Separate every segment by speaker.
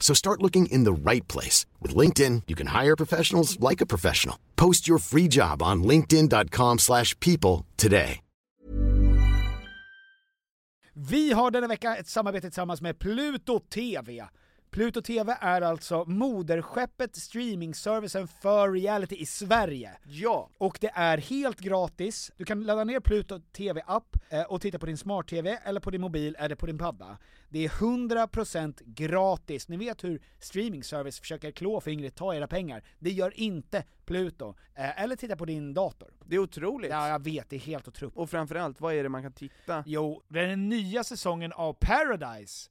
Speaker 1: So start looking in the right place. With LinkedIn, you can hire professionals like a professional. Post your free job on linkedin.com/people slash people today.
Speaker 2: Vi har denna vecka ett samarbete tillsammans med Pluto TV. Pluto TV är alltså moderskeppet streamingservicen för reality i Sverige.
Speaker 3: Ja!
Speaker 2: Och det är helt gratis. Du kan ladda ner Pluto TV-app eh, och titta på din smart-TV, eller på din mobil, eller på din padda. Det är 100% gratis. Ni vet hur streamingservice försöker klå fingret, ta era pengar. Det gör inte Pluto. Eh, Eller titta på din dator.
Speaker 3: Det är otroligt.
Speaker 2: Ja, jag vet, det är helt otroligt.
Speaker 3: Och framförallt, vad är det man kan titta?
Speaker 2: Jo, det är den nya säsongen av Paradise.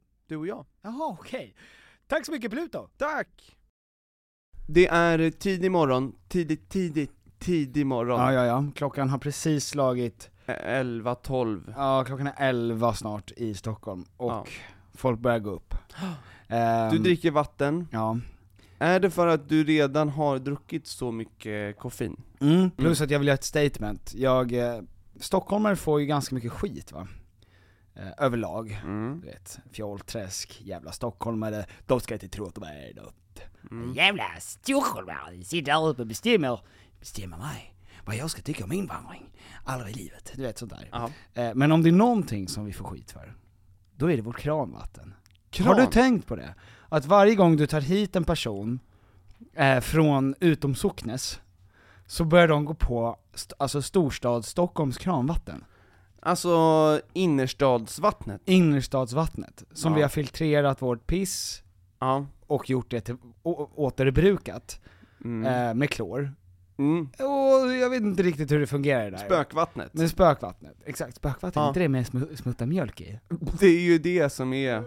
Speaker 3: Du och jag.
Speaker 2: Jaha, okej. Tack så mycket Pluto!
Speaker 3: Tack! Det är tidig morgon, tidigt, tidigt, tidig morgon.
Speaker 2: ja, ja. Klockan har precis slagit,
Speaker 3: 11-12.
Speaker 2: ja klockan är 11 snart i Stockholm och
Speaker 3: Ja.
Speaker 2: folk börjar gå upp. Ehm,
Speaker 3: Du dricker vatten.
Speaker 2: Ja.
Speaker 3: Är det för att du redan har druckit så mycket koffein?
Speaker 2: Mm. Plus att jag vill göra ett statement. Jag, eh, stockholmare får ju ganska mycket skit va? Eh, överlag. Du vet, fjollträsk, jävla stockholmare, de ska inte tro att de är något. Jävla stockholmare, de sitter där uppe och bestämmer, bestämmer mig. Vad jag ska tycka om invandring. Aldrig i livet. Du vet sånt där. Eh, men om det är någonting som vi får skit för, då är det vårt kranvatten. Har du tänkt på det? Att varje gång du tar hit en person eh, från utom Socknes, så börjar de gå på st- alltså storstad Stockholms kranvatten,
Speaker 3: Alltså innerstadsvattnet?
Speaker 2: innerstadsvattnet, som
Speaker 3: Ja.
Speaker 2: vi har filtrerat vårt piss
Speaker 3: Ja.
Speaker 2: och gjort det till å- återbrukat
Speaker 3: Mm.
Speaker 2: eh, med klor.
Speaker 3: Mm.
Speaker 2: Och jag vet inte riktigt hur det fungerar där.
Speaker 3: Spökvattnet.
Speaker 2: Men spökvattnet, exakt, spökvatten,
Speaker 3: Ja.
Speaker 2: är inte det med sm- smutta mjölk i?
Speaker 3: Det är ju det som är,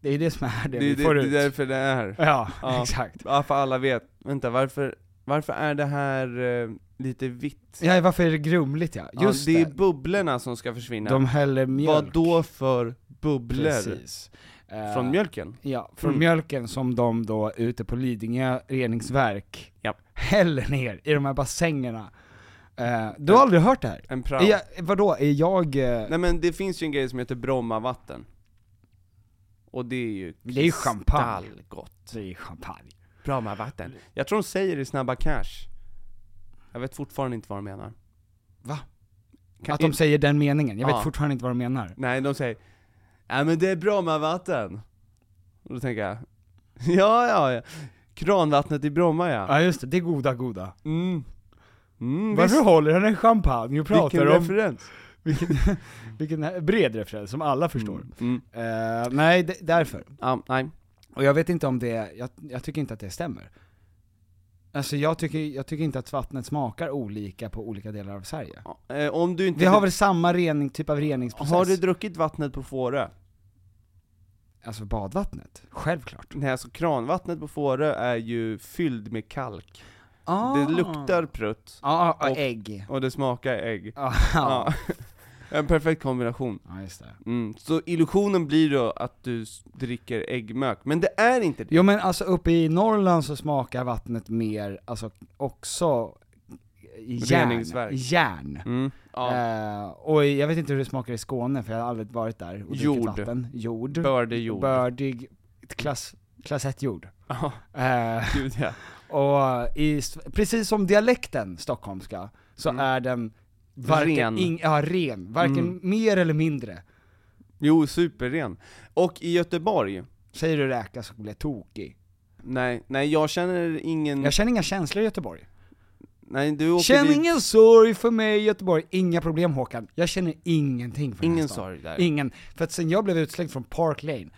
Speaker 2: Det är ju det som är det,
Speaker 3: det, är-
Speaker 2: vi
Speaker 3: det,
Speaker 2: får
Speaker 3: det är
Speaker 2: ut.
Speaker 3: därför det är.
Speaker 2: Ja,
Speaker 3: Ja.
Speaker 2: exakt.
Speaker 3: Ja, för alla vet. Vänta, varför, varför är det här eh, lite vitt?
Speaker 2: Ja, varför är det grumligt ja? Just
Speaker 3: ja, det
Speaker 2: det,
Speaker 3: är bubblorna som ska försvinna.
Speaker 2: de häller mjölk.
Speaker 3: Vad då för bubblor?
Speaker 2: Precis. Eh,
Speaker 3: Från mjölken?
Speaker 2: Ja, från
Speaker 3: Mm.
Speaker 2: mjölken som de då ute på Lidingö reningsverk
Speaker 3: Ja.
Speaker 2: häller ner i de här bassängerna. Eh, du har aldrig hört det här?
Speaker 3: En
Speaker 2: Ja.
Speaker 3: prao?
Speaker 2: Är jag, vadå, är jag... eh,
Speaker 3: Nej men det finns ju en grej som heter Brommavatten. Och det är ju
Speaker 2: Det är ju champagne.
Speaker 3: kristallgott.
Speaker 2: det är champagne.
Speaker 3: Brommavatten. Jag tror de säger det i Snabba Cash. Jag vet fortfarande inte vad de menar.
Speaker 2: Va?
Speaker 3: Kan-
Speaker 2: Att de säger den meningen, jag
Speaker 3: Ja.
Speaker 2: vet fortfarande inte vad de menar.
Speaker 3: Nej, de säger Nej men det är Brommavatten. Och då tänker jag, ja ja, ja. kranvattnet i Bromma ja.
Speaker 2: Ja just det, det är goda goda.
Speaker 3: Mm. Mm,
Speaker 2: Varför
Speaker 3: visst.
Speaker 2: håller han en champagne och pratar
Speaker 3: Vilken
Speaker 2: om...
Speaker 3: referens.
Speaker 2: vilken, vilken bred referens som alla förstår.
Speaker 3: Mm.
Speaker 2: Eh, nej, det, därför.
Speaker 3: Ja, nej.
Speaker 2: Och jag vet inte om det, jag, jag tycker inte att det stämmer. Alltså jag tycker, jag tycker inte att vattnet smakar olika på olika delar av Sverige.
Speaker 3: Ja, eh, Om du inte...
Speaker 2: Vi har väl samma rening, typ av reningsprocess?
Speaker 3: har du druckit vattnet på Fårö?
Speaker 2: Alltså badvattnet? Självklart.
Speaker 3: Nej alltså kranvattnet på Fårö är ju fylld med kalk.
Speaker 2: Ah.
Speaker 3: Det luktar prutt,
Speaker 2: Ja, ah,
Speaker 3: och-
Speaker 2: ägg.
Speaker 3: och det smakar ägg.
Speaker 2: Ah,
Speaker 3: Ja. En perfekt kombination.
Speaker 2: ja, just det.
Speaker 3: Mm. Så illusionen blir då att du s- dricker äggmök, men det är inte det.
Speaker 2: Jo men alltså uppe i Norrland så smakar vattnet mer, alltså också järn.
Speaker 3: Reningsverk.
Speaker 2: järn.
Speaker 3: Mm. Ja.
Speaker 2: Eh, och jag vet inte hur det smakar i Skåne för jag har aldrig varit där och
Speaker 3: Jord.
Speaker 2: druckit vatten. Jord.
Speaker 3: Bördejord.
Speaker 2: Bördig, klass, klass 1 jord.
Speaker 3: Ja,
Speaker 2: Eh,
Speaker 3: gud ja.
Speaker 2: och i, s- precis som dialekten stockholmska, så
Speaker 3: Mm.
Speaker 2: är den varken
Speaker 3: Ren.
Speaker 2: ing- ja, ren. Varken
Speaker 3: Mm.
Speaker 2: mer eller mindre.
Speaker 3: Jo, superren. Och i Göteborg,
Speaker 2: Säger du räka så blir jag tokig.
Speaker 3: nej, nej jag känner ingen,
Speaker 2: Jag känner inga känslor i Göteborg.
Speaker 3: nej Mm. du åker
Speaker 2: Känn
Speaker 3: dit,
Speaker 2: ingen sorg för mig Göteborg, inga problem Håkan. Jag känner ingenting för den här
Speaker 3: ingen
Speaker 2: stan.
Speaker 3: sorg där.
Speaker 2: Ingen. För att sen jag blev utslängd från Park Lane,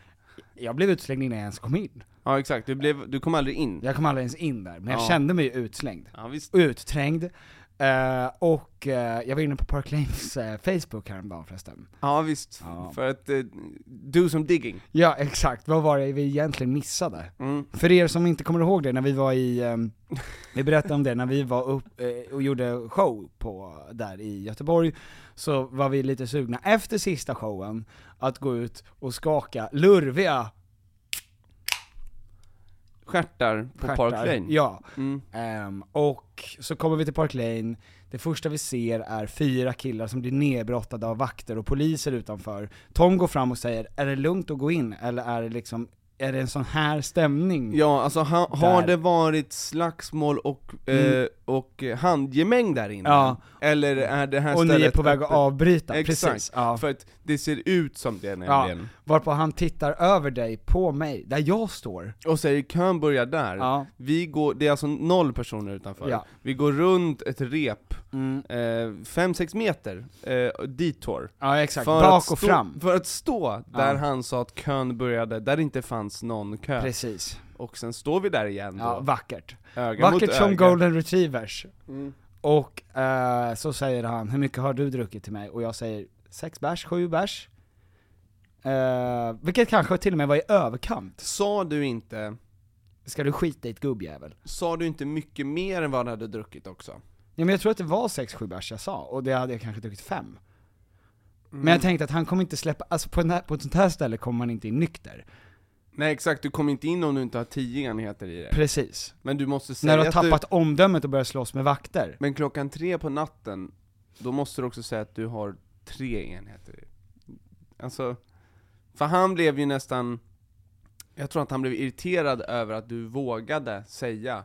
Speaker 2: jag blev utslängd innan jag ens kom in.
Speaker 3: ja exakt, du, blev, du kom aldrig in.
Speaker 2: Jag kom aldrig ens in där, men jag
Speaker 3: Ja.
Speaker 2: kände mig utslängd.
Speaker 3: Ja, visst.
Speaker 2: Utträngd. Eh, och eh, jag var inne på Park Lanes eh, Facebook häromdagen förresten.
Speaker 3: Ja, visst.
Speaker 2: Ja.
Speaker 3: För att, eh, do some digging.
Speaker 2: Ja exakt, vad var det vi egentligen missade?
Speaker 3: Mm.
Speaker 2: För er som inte kommer ihåg det, när vi var i, ehm, vi berättade om det, när vi var upp eh, och gjorde show på, där i Göteborg, så var vi lite sugna efter sista showen, att gå ut och skaka lurviga
Speaker 3: Stjärtar på
Speaker 2: stjärtar.
Speaker 3: Park Lane.
Speaker 2: Ja.
Speaker 3: Mm.
Speaker 2: Ehm, och så kommer vi till Park Lane, det första vi ser är fyra killar som blir nedbrottade av vakter och poliser utanför. Tom går fram och säger, är det lugnt att gå in? Eller är det liksom, är det en sån här stämning?
Speaker 3: Ja, alltså ha, har
Speaker 2: Där.
Speaker 3: det varit slagsmål och, eh,
Speaker 2: Mm.
Speaker 3: och eh, handgemäng där inne?
Speaker 2: Ja.
Speaker 3: Eller är det här
Speaker 2: och
Speaker 3: stället
Speaker 2: ni är på väg att
Speaker 3: öppet?
Speaker 2: avbryta,
Speaker 3: Exakt.
Speaker 2: precis. Ja.
Speaker 3: För att det ser ut som det nämligen.
Speaker 2: Varpå han tittar över dig på mig, där jag står.
Speaker 3: Och säger kön börjar där.
Speaker 2: Ja.
Speaker 3: Vi går, det är alltså noll personer utanför.
Speaker 2: Ja.
Speaker 3: Vi går runt ett rep,
Speaker 2: Mm.
Speaker 3: eh, 5-6 meter, eh, detour.
Speaker 2: ja, exakt.
Speaker 3: För att
Speaker 2: Bak och
Speaker 3: stå,
Speaker 2: fram.
Speaker 3: För att stå där
Speaker 2: Ja.
Speaker 3: han sa att kön började, där det inte fanns någon kö.
Speaker 2: Precis.
Speaker 3: Och sen står vi där igen då,
Speaker 2: Ja, vackert.
Speaker 3: öga mot
Speaker 2: Vackert som
Speaker 3: öga.
Speaker 2: golden retrievers.
Speaker 3: Mm.
Speaker 2: Och eh, så säger han, hur mycket har du druckit till mig? Och jag säger, sex bärs, sju bärs. Eh, vilket kanske till och med var i överkant.
Speaker 3: Sa du inte,
Speaker 2: Ska du skita i ett gubbjävel?
Speaker 3: sa du inte mycket mer än vad du hade druckit också?
Speaker 2: Ja men jag tror att det var sex, sju bärs jag sa, och det hade jag kanske druckit fem. Men
Speaker 3: Mm.
Speaker 2: jag tänkte att han kommer inte släppa, alltså på, den här, på ett sånt här ställe kommer man inte in nykter.
Speaker 3: Nej exakt, du kommer inte in om du inte har 10 enheter i dig.
Speaker 2: Precis.
Speaker 3: Men du måste säga
Speaker 2: När du har
Speaker 3: Eh, att
Speaker 2: tappat omdömet och börjar slåss med vakter.
Speaker 3: Men klockan tre på natten, då måste du också säga att du har tre enheter i dig. Alltså, för han blev ju nästan, jag tror att han blev irriterad över att du vågade säga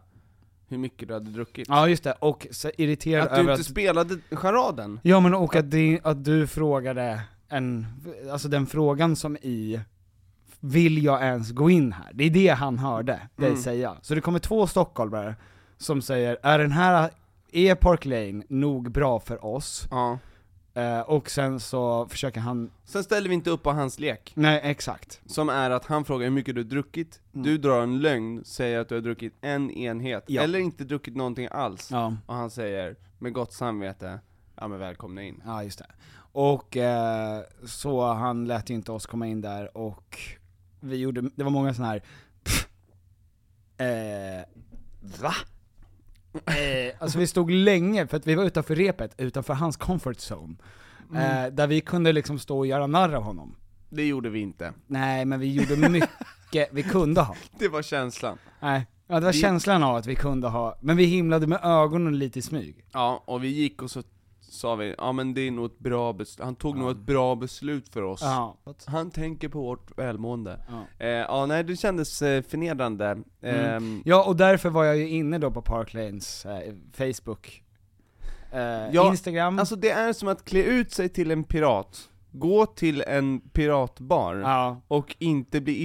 Speaker 3: hur mycket du hade druckit.
Speaker 2: Ja just det, och så irriterad
Speaker 3: att du
Speaker 2: över
Speaker 3: inte
Speaker 2: att...
Speaker 3: spelade charaden.
Speaker 2: Ja men och att, det, att du frågade en, alltså den frågan som i, vill jag ens gå in här? Det är det han hörde dig
Speaker 3: Mm.
Speaker 2: säga. Så det kommer två stockholmare som säger, är den här, är Park Lane nog bra för oss?
Speaker 3: Ja.
Speaker 2: Eh, och sen så försöker han,
Speaker 3: Sen ställer vi inte upp på hans lek,
Speaker 2: nej exakt.
Speaker 3: som är att han frågar hur mycket du har druckit,
Speaker 2: Mm.
Speaker 3: du drar en lögn, säger att du har druckit en enhet,
Speaker 2: Ja.
Speaker 3: eller inte druckit någonting alls.
Speaker 2: Ja.
Speaker 3: Och han säger, med gott samvete, ja men välkomna in.
Speaker 2: Ja, just det. Och eh, så han lät ju inte oss komma in där och vi gjorde, det var många sådana här pff, eh, Va? Eh, alltså vi stod länge, för att vi var utanför repet, utanför hans comfort zone. Eh, där vi kunde liksom stå och göra narr av honom.
Speaker 3: Det gjorde vi inte.
Speaker 2: Nej men vi gjorde mycket vi kunde ha.
Speaker 3: Det var känslan.
Speaker 2: Nej, ja, det var
Speaker 3: Vi-
Speaker 2: känslan av att vi kunde ha, men vi himlade med ögonen lite i smyg.
Speaker 3: Ja, och vi gick och så sa vi, ja men det är nog ett bra beslut, han tog nog ett bra beslut för oss.
Speaker 2: Ja.
Speaker 3: Han tänker på vårt välmående.
Speaker 2: Ja. Mm.
Speaker 3: Eh, ja, nej det kändes eh, förnedrande. Ehm,
Speaker 2: Ja, och därför var jag ju inne då på Park Lanes eh, Facebook, eh,
Speaker 3: Ja,
Speaker 2: Instagram.
Speaker 3: Alltså det är som att klä ut sig till en pirat, gå till en piratbar,
Speaker 2: ja.
Speaker 3: och inte bli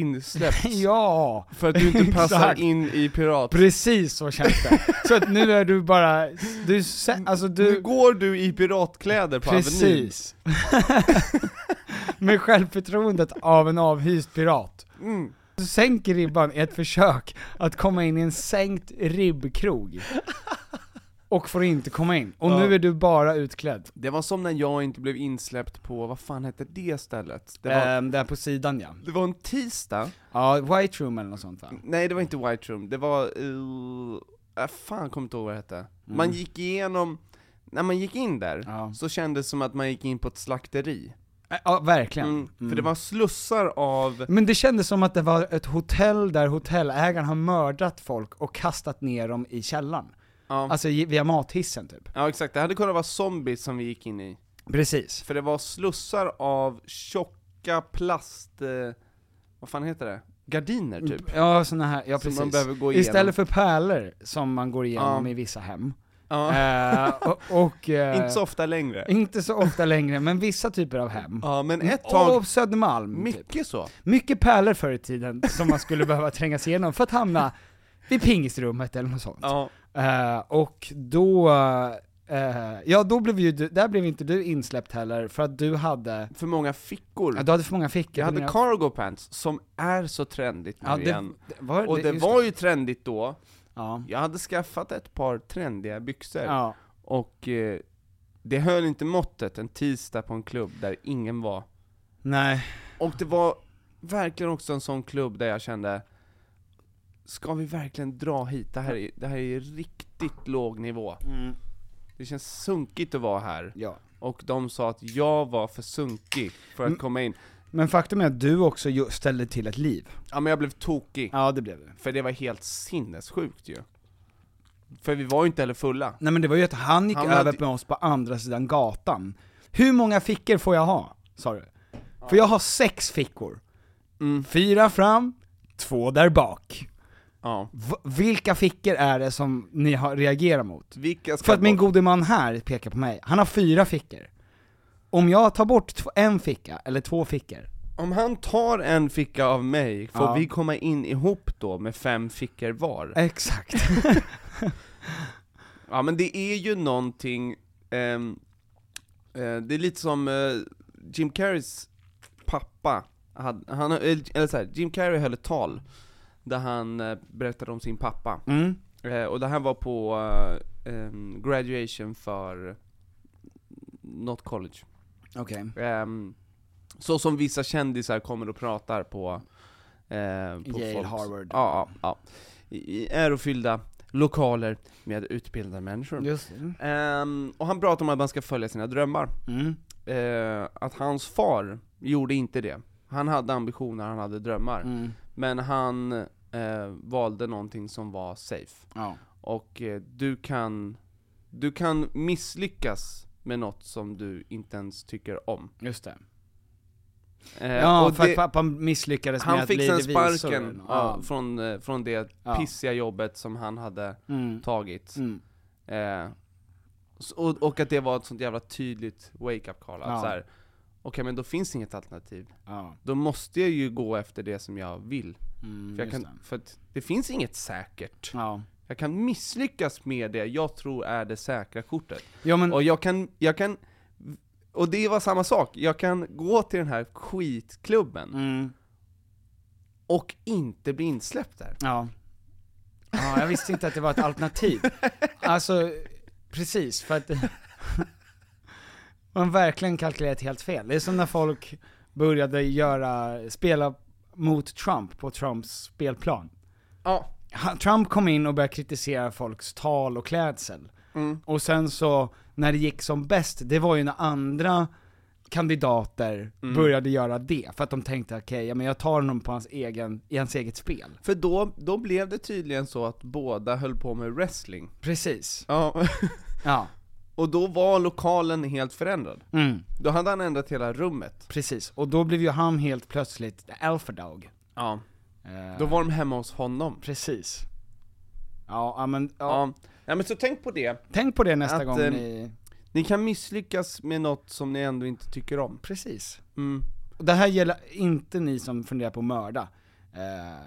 Speaker 3: insläppt.
Speaker 2: ja,
Speaker 3: För att du inte passar
Speaker 2: Exakt.
Speaker 3: in i pirat...
Speaker 2: precis så känns det. så att nu är du bara, du, se- alltså
Speaker 3: Nu
Speaker 2: du,
Speaker 3: går du i piratkläder på Avenyn.
Speaker 2: precis. Med självförtroendet av en avhyst pirat.
Speaker 3: Mm.
Speaker 2: Du sänker ribban i ett försök att komma in i en sänkt ribbkrog. Och får inte komma in. Och nu är du bara utklädd.
Speaker 3: Det var som när jag inte blev insläppt på, vad fan hette det stället? Det var,
Speaker 2: Ehm, där på sidan ja.
Speaker 3: det var en tisdag,
Speaker 2: Ja, White Room eller något sånt va?
Speaker 3: nej det var inte White Room, det var... Uh, äh, fan kommer inte ihåg vad det hette. Man gick igenom, när man gick in där,
Speaker 2: Mm. Ja.
Speaker 3: så kändes det som att man gick in på ett slakteri.
Speaker 2: Ä- Ja, verkligen.
Speaker 3: Mm, För det var slussar av...
Speaker 2: Men det kändes som att det var ett hotell där hotellägaren har mördat folk och kastat ner dem i källaren.
Speaker 3: Ja.
Speaker 2: Alltså ge- via mathissen typ.
Speaker 3: ja exakt, det hade kunnat vara zombies som vi gick in i.
Speaker 2: Precis.
Speaker 3: För det var slussar av tjocka plast... Eh, vad fan heter det? Gardiner typ.
Speaker 2: Ja, såna här, ja
Speaker 3: Som
Speaker 2: precis.
Speaker 3: man behöver gå igenom.
Speaker 2: Istället för pärlor som man går igenom
Speaker 3: Ja.
Speaker 2: i vissa hem.
Speaker 3: Ja.
Speaker 2: Eh, och, och eh,
Speaker 3: Inte så ofta längre. Mm.
Speaker 2: inte så ofta längre, men vissa typer av hem.
Speaker 3: Ja, men ett
Speaker 2: Och
Speaker 3: tag,
Speaker 2: Södermalm. Typ.
Speaker 3: mycket så.
Speaker 2: Mycket pärlor förr i tiden som man skulle behöva trängas igenom för att hamna vid pingisrummet eller något sånt.
Speaker 3: Ja.
Speaker 2: Eh, och då, eh, ja då blev ju du, där blev inte du insläppt heller för att du hade,
Speaker 3: För många fickor.
Speaker 2: ja, du hade för många fickor.
Speaker 3: jag hade
Speaker 2: Dina-
Speaker 3: cargo pants, som är så trendigt nu
Speaker 2: ja, det,
Speaker 3: igen.
Speaker 2: det var,
Speaker 3: Och det
Speaker 2: just
Speaker 3: var ju trendigt då,
Speaker 2: Ja.
Speaker 3: jag hade skaffat ett par trendiga byxor,
Speaker 2: ja.
Speaker 3: och eh, det höll inte måttet en tisdag på en klubb där ingen var.
Speaker 2: Nej.
Speaker 3: Och det var verkligen också en sån klubb där jag kände, ska vi verkligen dra hit? Det här är, det här är riktigt låg nivå.
Speaker 2: Mm.
Speaker 3: Det känns sunkigt att vara här.
Speaker 2: Ja.
Speaker 3: Och de sa att jag var för sunkig för
Speaker 2: Mm.
Speaker 3: att komma in.
Speaker 2: Men faktum är att du också ju- ställde till ett liv.
Speaker 3: Ja men jag blev tokig,
Speaker 2: Ja det blev du.
Speaker 3: för det var helt sinnessjukt ju. För vi var ju inte heller fulla.
Speaker 2: Nej men det var ju att han gick
Speaker 3: Han hade-
Speaker 2: över med oss på andra sidan gatan. Hur många fickor får jag ha? Sa du. För jag har sex fickor.
Speaker 3: Mm.
Speaker 2: Fyra fram, två där bak.
Speaker 3: Ja.
Speaker 2: V- vilka fickor är det som ni har reagerat mot?
Speaker 3: Vilka ska
Speaker 2: För att min
Speaker 3: bort?
Speaker 2: gode man här pekar på mig, han har fyra fickor. Om jag tar bort tv- en ficka, eller två fickor,
Speaker 3: Om han tar en ficka av mig, får
Speaker 2: Ja.
Speaker 3: vi komma in ihop då med fem fickor var?
Speaker 2: exakt.
Speaker 3: Ja men det är ju någonting, ehm, eh, det är lite som eh, Jim Carreys pappa, han, han, eller eller så här, Jim Carrey höll ett tal där han eh, berättade om sin pappa.
Speaker 2: Mm.
Speaker 3: Eh, och det här var på eh, ehm, graduation för något college.
Speaker 2: Okej.
Speaker 3: Ehm, så som vissa kändisar kommer och pratar på, eh, på
Speaker 2: Yale,
Speaker 3: folks-
Speaker 2: Harvard.
Speaker 3: Ja, ja, ja. I, i ärofyllda lokaler med utbildade människor.
Speaker 2: Just det.
Speaker 3: Ehm, och han pratar om att man ska följa sina drömmar.
Speaker 2: Mm.
Speaker 3: Eh, att hans far gjorde inte det. Han hade ambitioner, han hade drömmar.
Speaker 2: Mm.
Speaker 3: Men han eh, valde någonting som var safe.
Speaker 2: Ja.
Speaker 3: Och eh, du kan, du kan misslyckas med något som du inte ens tycker om.
Speaker 2: Just det.
Speaker 3: Eh,
Speaker 2: Ja,
Speaker 3: och
Speaker 2: för att
Speaker 3: det-
Speaker 2: pappan misslyckades med
Speaker 3: han
Speaker 2: att
Speaker 3: fick
Speaker 2: bli
Speaker 3: sen
Speaker 2: revisor eller
Speaker 3: sparken
Speaker 2: något.
Speaker 3: ja, från, eh, från det
Speaker 2: Ja.
Speaker 3: pissiga jobbet som han hade
Speaker 2: Mm.
Speaker 3: tagit.
Speaker 2: Mm.
Speaker 3: Eh, s- och, och att det var ett sånt jävla tydligt wake-up call, att
Speaker 2: Ja.
Speaker 3: så här, okej men då finns inget alternativ.
Speaker 2: Ja.
Speaker 3: Då måste jag ju gå efter det som jag vill.
Speaker 2: Mm,
Speaker 3: För, jag
Speaker 2: just
Speaker 3: kan,
Speaker 2: det.
Speaker 3: för att det finns inget säkert.
Speaker 2: Ja.
Speaker 3: Jag kan misslyckas med det jag tror är det säkra kortet.
Speaker 2: Ja men,
Speaker 3: Och jag kan, jag kan, och det var samma sak, jag kan gå till den här skitklubben
Speaker 2: mm.
Speaker 3: och inte bli insläppt där.
Speaker 2: ja. Ja, jag visste inte att det var ett alternativ. Alltså, precis, för att man verkligen kalkylerat helt fel. Det är som när folk började göra, spela mot Trump på Trumps spelplan.
Speaker 3: Ja,
Speaker 2: Han- Trump kom in och började kritisera folks tal och klädsel. Och sen så, när det gick som bäst, det var ju när andra kandidater började göra det. För att de tänkte, okej, ja, men jag tar honom på hans egen, i hans eget spel.
Speaker 3: för då, då blev det tydligen så att båda höll på med wrestling.
Speaker 2: Precis.
Speaker 3: Ja.
Speaker 2: Ja.
Speaker 3: Och då var lokalen helt förändrad.
Speaker 2: Mm.
Speaker 3: Då hade han ändrat hela rummet.
Speaker 2: Precis, och då blev ju han helt plötsligt the alpha dog.
Speaker 3: Ja.
Speaker 2: Eh,
Speaker 3: Då var de hemma hos honom.
Speaker 2: Precis. Ja, ja, men, ja.
Speaker 3: Ja. ja, men så tänk på det.
Speaker 2: tänk på det nästa
Speaker 3: Att,
Speaker 2: gång
Speaker 3: eh,
Speaker 2: ni...
Speaker 3: Ni kan misslyckas med något som ni ändå inte tycker om.
Speaker 2: Precis.
Speaker 3: Mm.
Speaker 2: Och det här gäller inte ni som funderar på att mörda. Eh,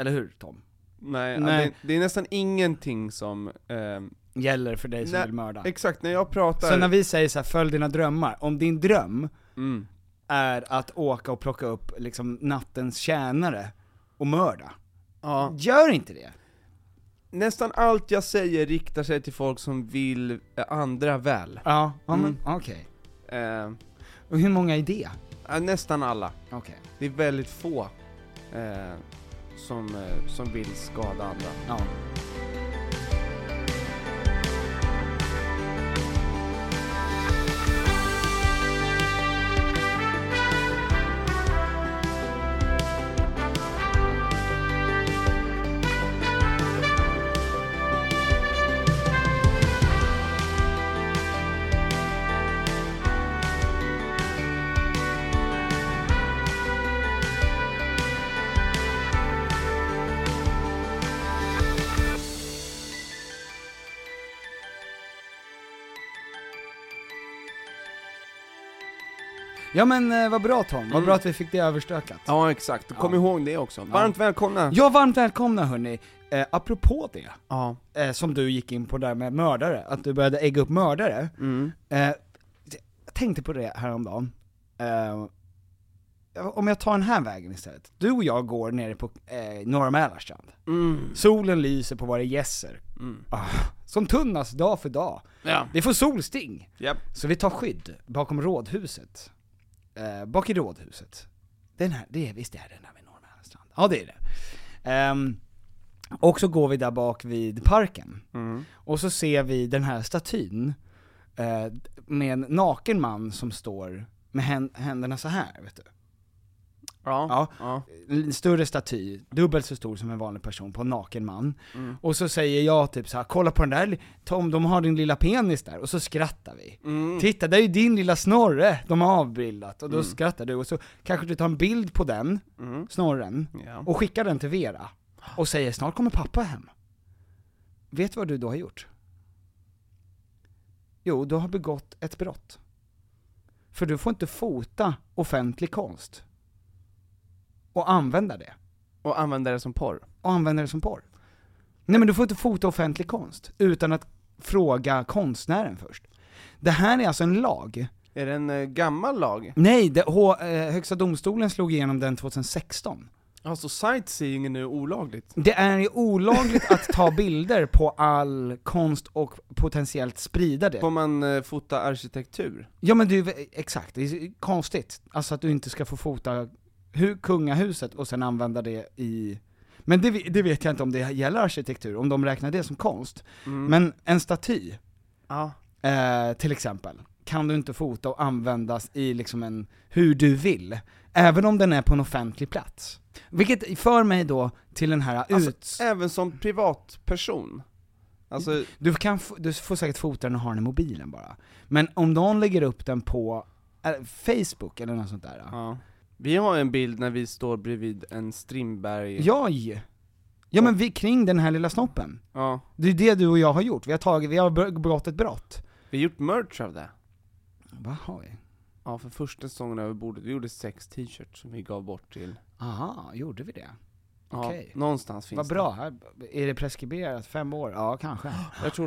Speaker 2: eller hur Tom?
Speaker 3: Nej,
Speaker 2: Nej.
Speaker 3: Ja, det, det är nästan ingenting som... ehm,
Speaker 2: Gäller för dig som
Speaker 3: Nej,
Speaker 2: vill mörda.
Speaker 3: Exakt, när jag pratar...
Speaker 2: Så när vi säger så här, följ dina drömmar, om din dröm
Speaker 3: mm.
Speaker 2: är att åka och plocka upp liksom nattens tjänare och mörda.
Speaker 3: Ja.
Speaker 2: Gör inte det!
Speaker 3: Nästan allt jag säger riktar sig till folk som vill eh, andra väl.
Speaker 2: Ja, ja men
Speaker 3: Mm.
Speaker 2: okej.
Speaker 3: Eh,
Speaker 2: Och hur många är det?
Speaker 3: ja, nästan alla.
Speaker 2: Okej.
Speaker 3: Det är väldigt få eh, som, eh, som vill skada andra.
Speaker 2: Ja. Ja men eh, vad bra Tom, vad
Speaker 3: Mm.
Speaker 2: bra att vi fick det överstökat. Ja,
Speaker 3: Ja, exakt. Kom
Speaker 2: Ja.
Speaker 3: ihåg det också. Varmt välkomna!
Speaker 2: varmt välkomna hörni. Eh, apropå det,
Speaker 3: Ja.
Speaker 2: eh, som du gick in på där med mördare, att du började ägga upp mördare.
Speaker 3: Mm.
Speaker 2: Eh, jag tänkte på det häromdagen. Eh, om jag tar den här vägen istället. Du och jag går nere på eh, Norra Mälarstrand.
Speaker 3: Mm.
Speaker 2: Solen lyser på våra gässer.
Speaker 3: Mm.
Speaker 2: Ah, som tunnas dag för dag.
Speaker 3: Ja.
Speaker 2: Vi får solsting.
Speaker 3: Japp.
Speaker 2: Så vi tar skydd bakom rådhuset. Eh, bak i rådhuset. Den här, det är, visst är det den här vid Norra Mälarstrand? Ja det är det. Ehm, och så går vi där bak vid parken.
Speaker 3: Mm.
Speaker 2: Och så ser vi den här statyn eh, med en naken man som står med hän- händerna så här, vet du.
Speaker 3: Ja.
Speaker 2: Ja.
Speaker 3: Ja.
Speaker 2: En större staty, dubbelt så stor som en vanlig person på en naken man.
Speaker 3: Mm.
Speaker 2: Och så säger jag typ så här: kolla på den där, Tom de har din lilla penis där, och så skrattar vi.
Speaker 3: Mm.
Speaker 2: Titta, där är ju din lilla Snorre de har avbildat, och då skrattar du, och så kanske du tar en bild på den,
Speaker 3: Mm.
Speaker 2: Snorren,
Speaker 3: Ja.
Speaker 2: och skickar den till Vera, och säger snart kommer pappa hem. Vet du vad du då har gjort? Jo, du har begått ett brott. För du får inte fota offentlig konst. Och använda det.
Speaker 3: Och använda det som porr.
Speaker 2: Och använda det som porr. Nej men du får inte fota offentlig konst utan att fråga konstnären först. Det här är alltså en lag.
Speaker 3: Är det en eh, gammal lag?
Speaker 2: Nej, det, H, eh, Högsta domstolen slog igenom den 2016.
Speaker 3: Ja, så sightseeing är nu olagligt?
Speaker 2: Det är ju olagligt att ta bilder på all konst och potentiellt sprida det.
Speaker 3: Får man eh, fota arkitektur?
Speaker 2: Ja men du, exakt, det är konstigt. Alltså att du inte ska få fota hu- kungahuset och sen använda det i... Men det, vi- det vet jag inte om det gäller arkitektur, om de räknar det som konst.
Speaker 3: Mm.
Speaker 2: Men en staty,
Speaker 3: Ja.
Speaker 2: eh, till exempel, kan du inte fota och användas i liksom en, hur du vill. Även om den är på en offentlig plats. Vilket för mig då till den här
Speaker 3: Alltså,
Speaker 2: ut...
Speaker 3: Även som privatperson? Alltså,
Speaker 2: Du, kan, f- du får säkert fota den och ha den i mobilen bara. Men om någon lägger upp den på eh, Facebook eller något sånt där.
Speaker 3: ja. Vi har en bild när vi står bredvid en Strindberg...
Speaker 2: Jaj! Ja men vi kring den här lilla snoppen.
Speaker 3: ja.
Speaker 2: Det är det du och jag har gjort, vi har tagit, vi har be- begått ett brott.
Speaker 3: Vi har gjort merch av det.
Speaker 2: Vad har vi?
Speaker 3: Ja, för första säsongen över bordet, vi gjorde sex t-shirts som vi gav bort till...
Speaker 2: Aha, gjorde vi det?
Speaker 3: Ja,
Speaker 2: Okej.
Speaker 3: någonstans finns
Speaker 2: Vad bra, här, är det preskriberat? Fem år? Ja, kanske.
Speaker 3: det. Jag tror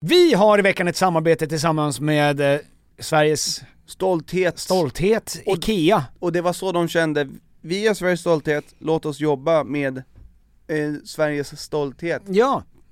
Speaker 2: Vi har i veckan ett samarbete tillsammans med eh, Sveriges
Speaker 3: Stolthet.
Speaker 2: stolthet, IKEA.
Speaker 3: Och det var så de kände, vi är Sveriges stolthet, låt oss jobba med eh, Sveriges stolthet.
Speaker 2: Ja,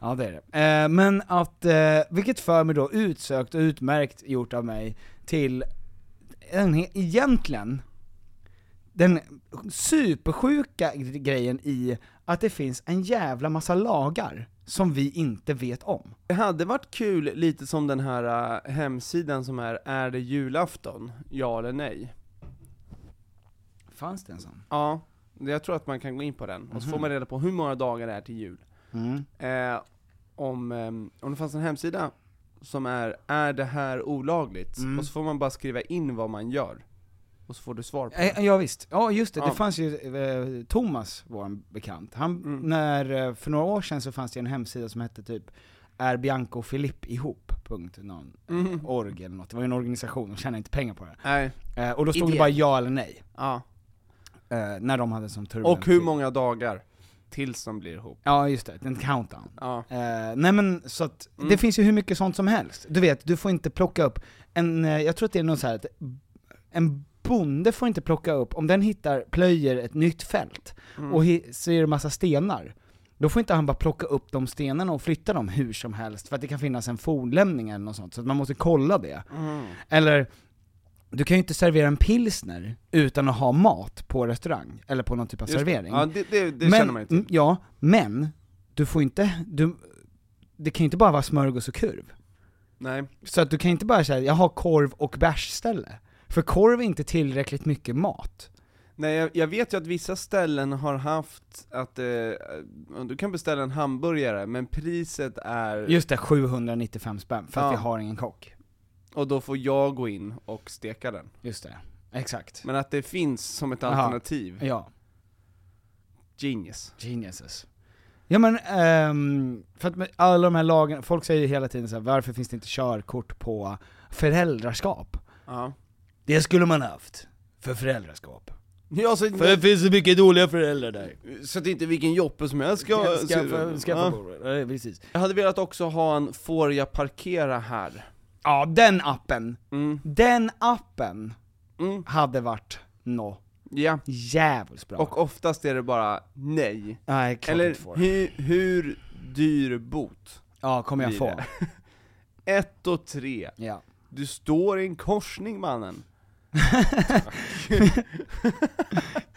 Speaker 2: Ja det är det. Eh, men att, eh, vilket för mig då utsökt och utmärkt gjort av mig till en, he- egentligen den supersjuka grejen i att det finns en jävla massa lagar som vi inte vet om.
Speaker 3: Det hade varit kul, lite som den här äh, hemsidan som är Är det julafton? Ja eller nej?
Speaker 2: Fanns det en sån?
Speaker 3: Ja, jag tror att man kan gå in på den, och
Speaker 2: Mhm.
Speaker 3: så får man reda på hur många dagar det är till jul. Eh, om, ehm, om det fanns en hemsida som är 'Är det här olagligt?'
Speaker 2: Mm.
Speaker 3: och så får man bara skriva in vad man gör, och så får du svar på det.
Speaker 2: Eh, Ja, ja visst, ja just det, det
Speaker 3: Ja.
Speaker 2: fanns ju eh, Thomas, vår bekant, han,
Speaker 3: Mm.
Speaker 2: när, eh, för några år sedan så fanns det en hemsida som hette typ är Bianca och Filipp ihop? Punkt någon
Speaker 3: Mm.
Speaker 2: eh, org eller något. Det var ju en organisation, de tjänade inte pengar på det.
Speaker 3: Nej,
Speaker 2: Eh, och då stod det
Speaker 3: Idé.
Speaker 2: bara ja eller nej,
Speaker 3: ja.
Speaker 2: eh, när de hade som turbulent
Speaker 3: Och hur
Speaker 2: tid.
Speaker 3: många dagar tills de blir ihop.
Speaker 2: Ja just det, en countdown.
Speaker 3: Ja. Mm.
Speaker 2: Eh, nej men så att, det finns ju hur mycket sånt som helst. Du vet, du får inte plocka upp en, eh, jag tror att det är något så här att en bonde får inte plocka upp, om den hittar, plöjer ett nytt fält
Speaker 3: Mm.
Speaker 2: och hi- så är det massa stenar, då får inte han bara plocka upp de stenarna och flytta dem hur som helst, för att det kan finnas en fornlämning eller något sånt, så att man måste kolla det.
Speaker 3: Mm.
Speaker 2: Eller, du kan ju inte servera en pilsner utan att ha mat på restaurang, eller på någon typ av
Speaker 3: Just det.
Speaker 2: servering
Speaker 3: Ja, det, det, det
Speaker 2: men,
Speaker 3: känner man ju
Speaker 2: mm,
Speaker 3: till.
Speaker 2: Ja, men du får inte, du, det kan ju inte bara vara smörgås och kurv.
Speaker 3: Nej.
Speaker 2: Så att du kan inte bara säga, jag har korv och bärsställe. För korv är inte tillräckligt mycket mat.
Speaker 3: Nej, jag, jag vet ju att vissa ställen har haft att, eh, du kan beställa en hamburgare, men priset är,
Speaker 2: Just det, 795 spänn, för att
Speaker 3: Ja.
Speaker 2: vi har ingen kock.
Speaker 3: och då får jag gå in och steka den.
Speaker 2: Just det, exakt.
Speaker 3: Men att det finns som ett
Speaker 2: Aha.
Speaker 3: alternativ,
Speaker 2: Ja,
Speaker 3: genius.
Speaker 2: geniuses. Ja men, ehm, för att med alla de här lagen, folk säger ju hela tiden så här, varför finns det inte körkort på föräldraskap?
Speaker 3: Ja.
Speaker 2: Det skulle man haft, för föräldraskap.
Speaker 3: Ja, så,
Speaker 2: finns så mycket dåliga föräldrar där.
Speaker 3: så att inte vilken joppe som helst ska...
Speaker 2: Skaffa, skaffa
Speaker 3: ja.
Speaker 2: bord. Ja, precis.
Speaker 3: Jag hade velat också ha en 'Får jag parkera här?'
Speaker 2: Ja, den appen.
Speaker 3: Mm.
Speaker 2: Den appen
Speaker 3: Mm.
Speaker 2: hade varit nå
Speaker 3: Ja.
Speaker 2: jävligt bra.
Speaker 3: Och oftast är det bara nej.
Speaker 2: Nej, klart Eller,
Speaker 3: Eller
Speaker 2: får.
Speaker 3: hur, hur dyr bot?
Speaker 2: Ja, kommer jag
Speaker 3: blir
Speaker 2: få.
Speaker 3: det. Ett och tre.
Speaker 2: Ja.
Speaker 3: Du står i en korsning mannen.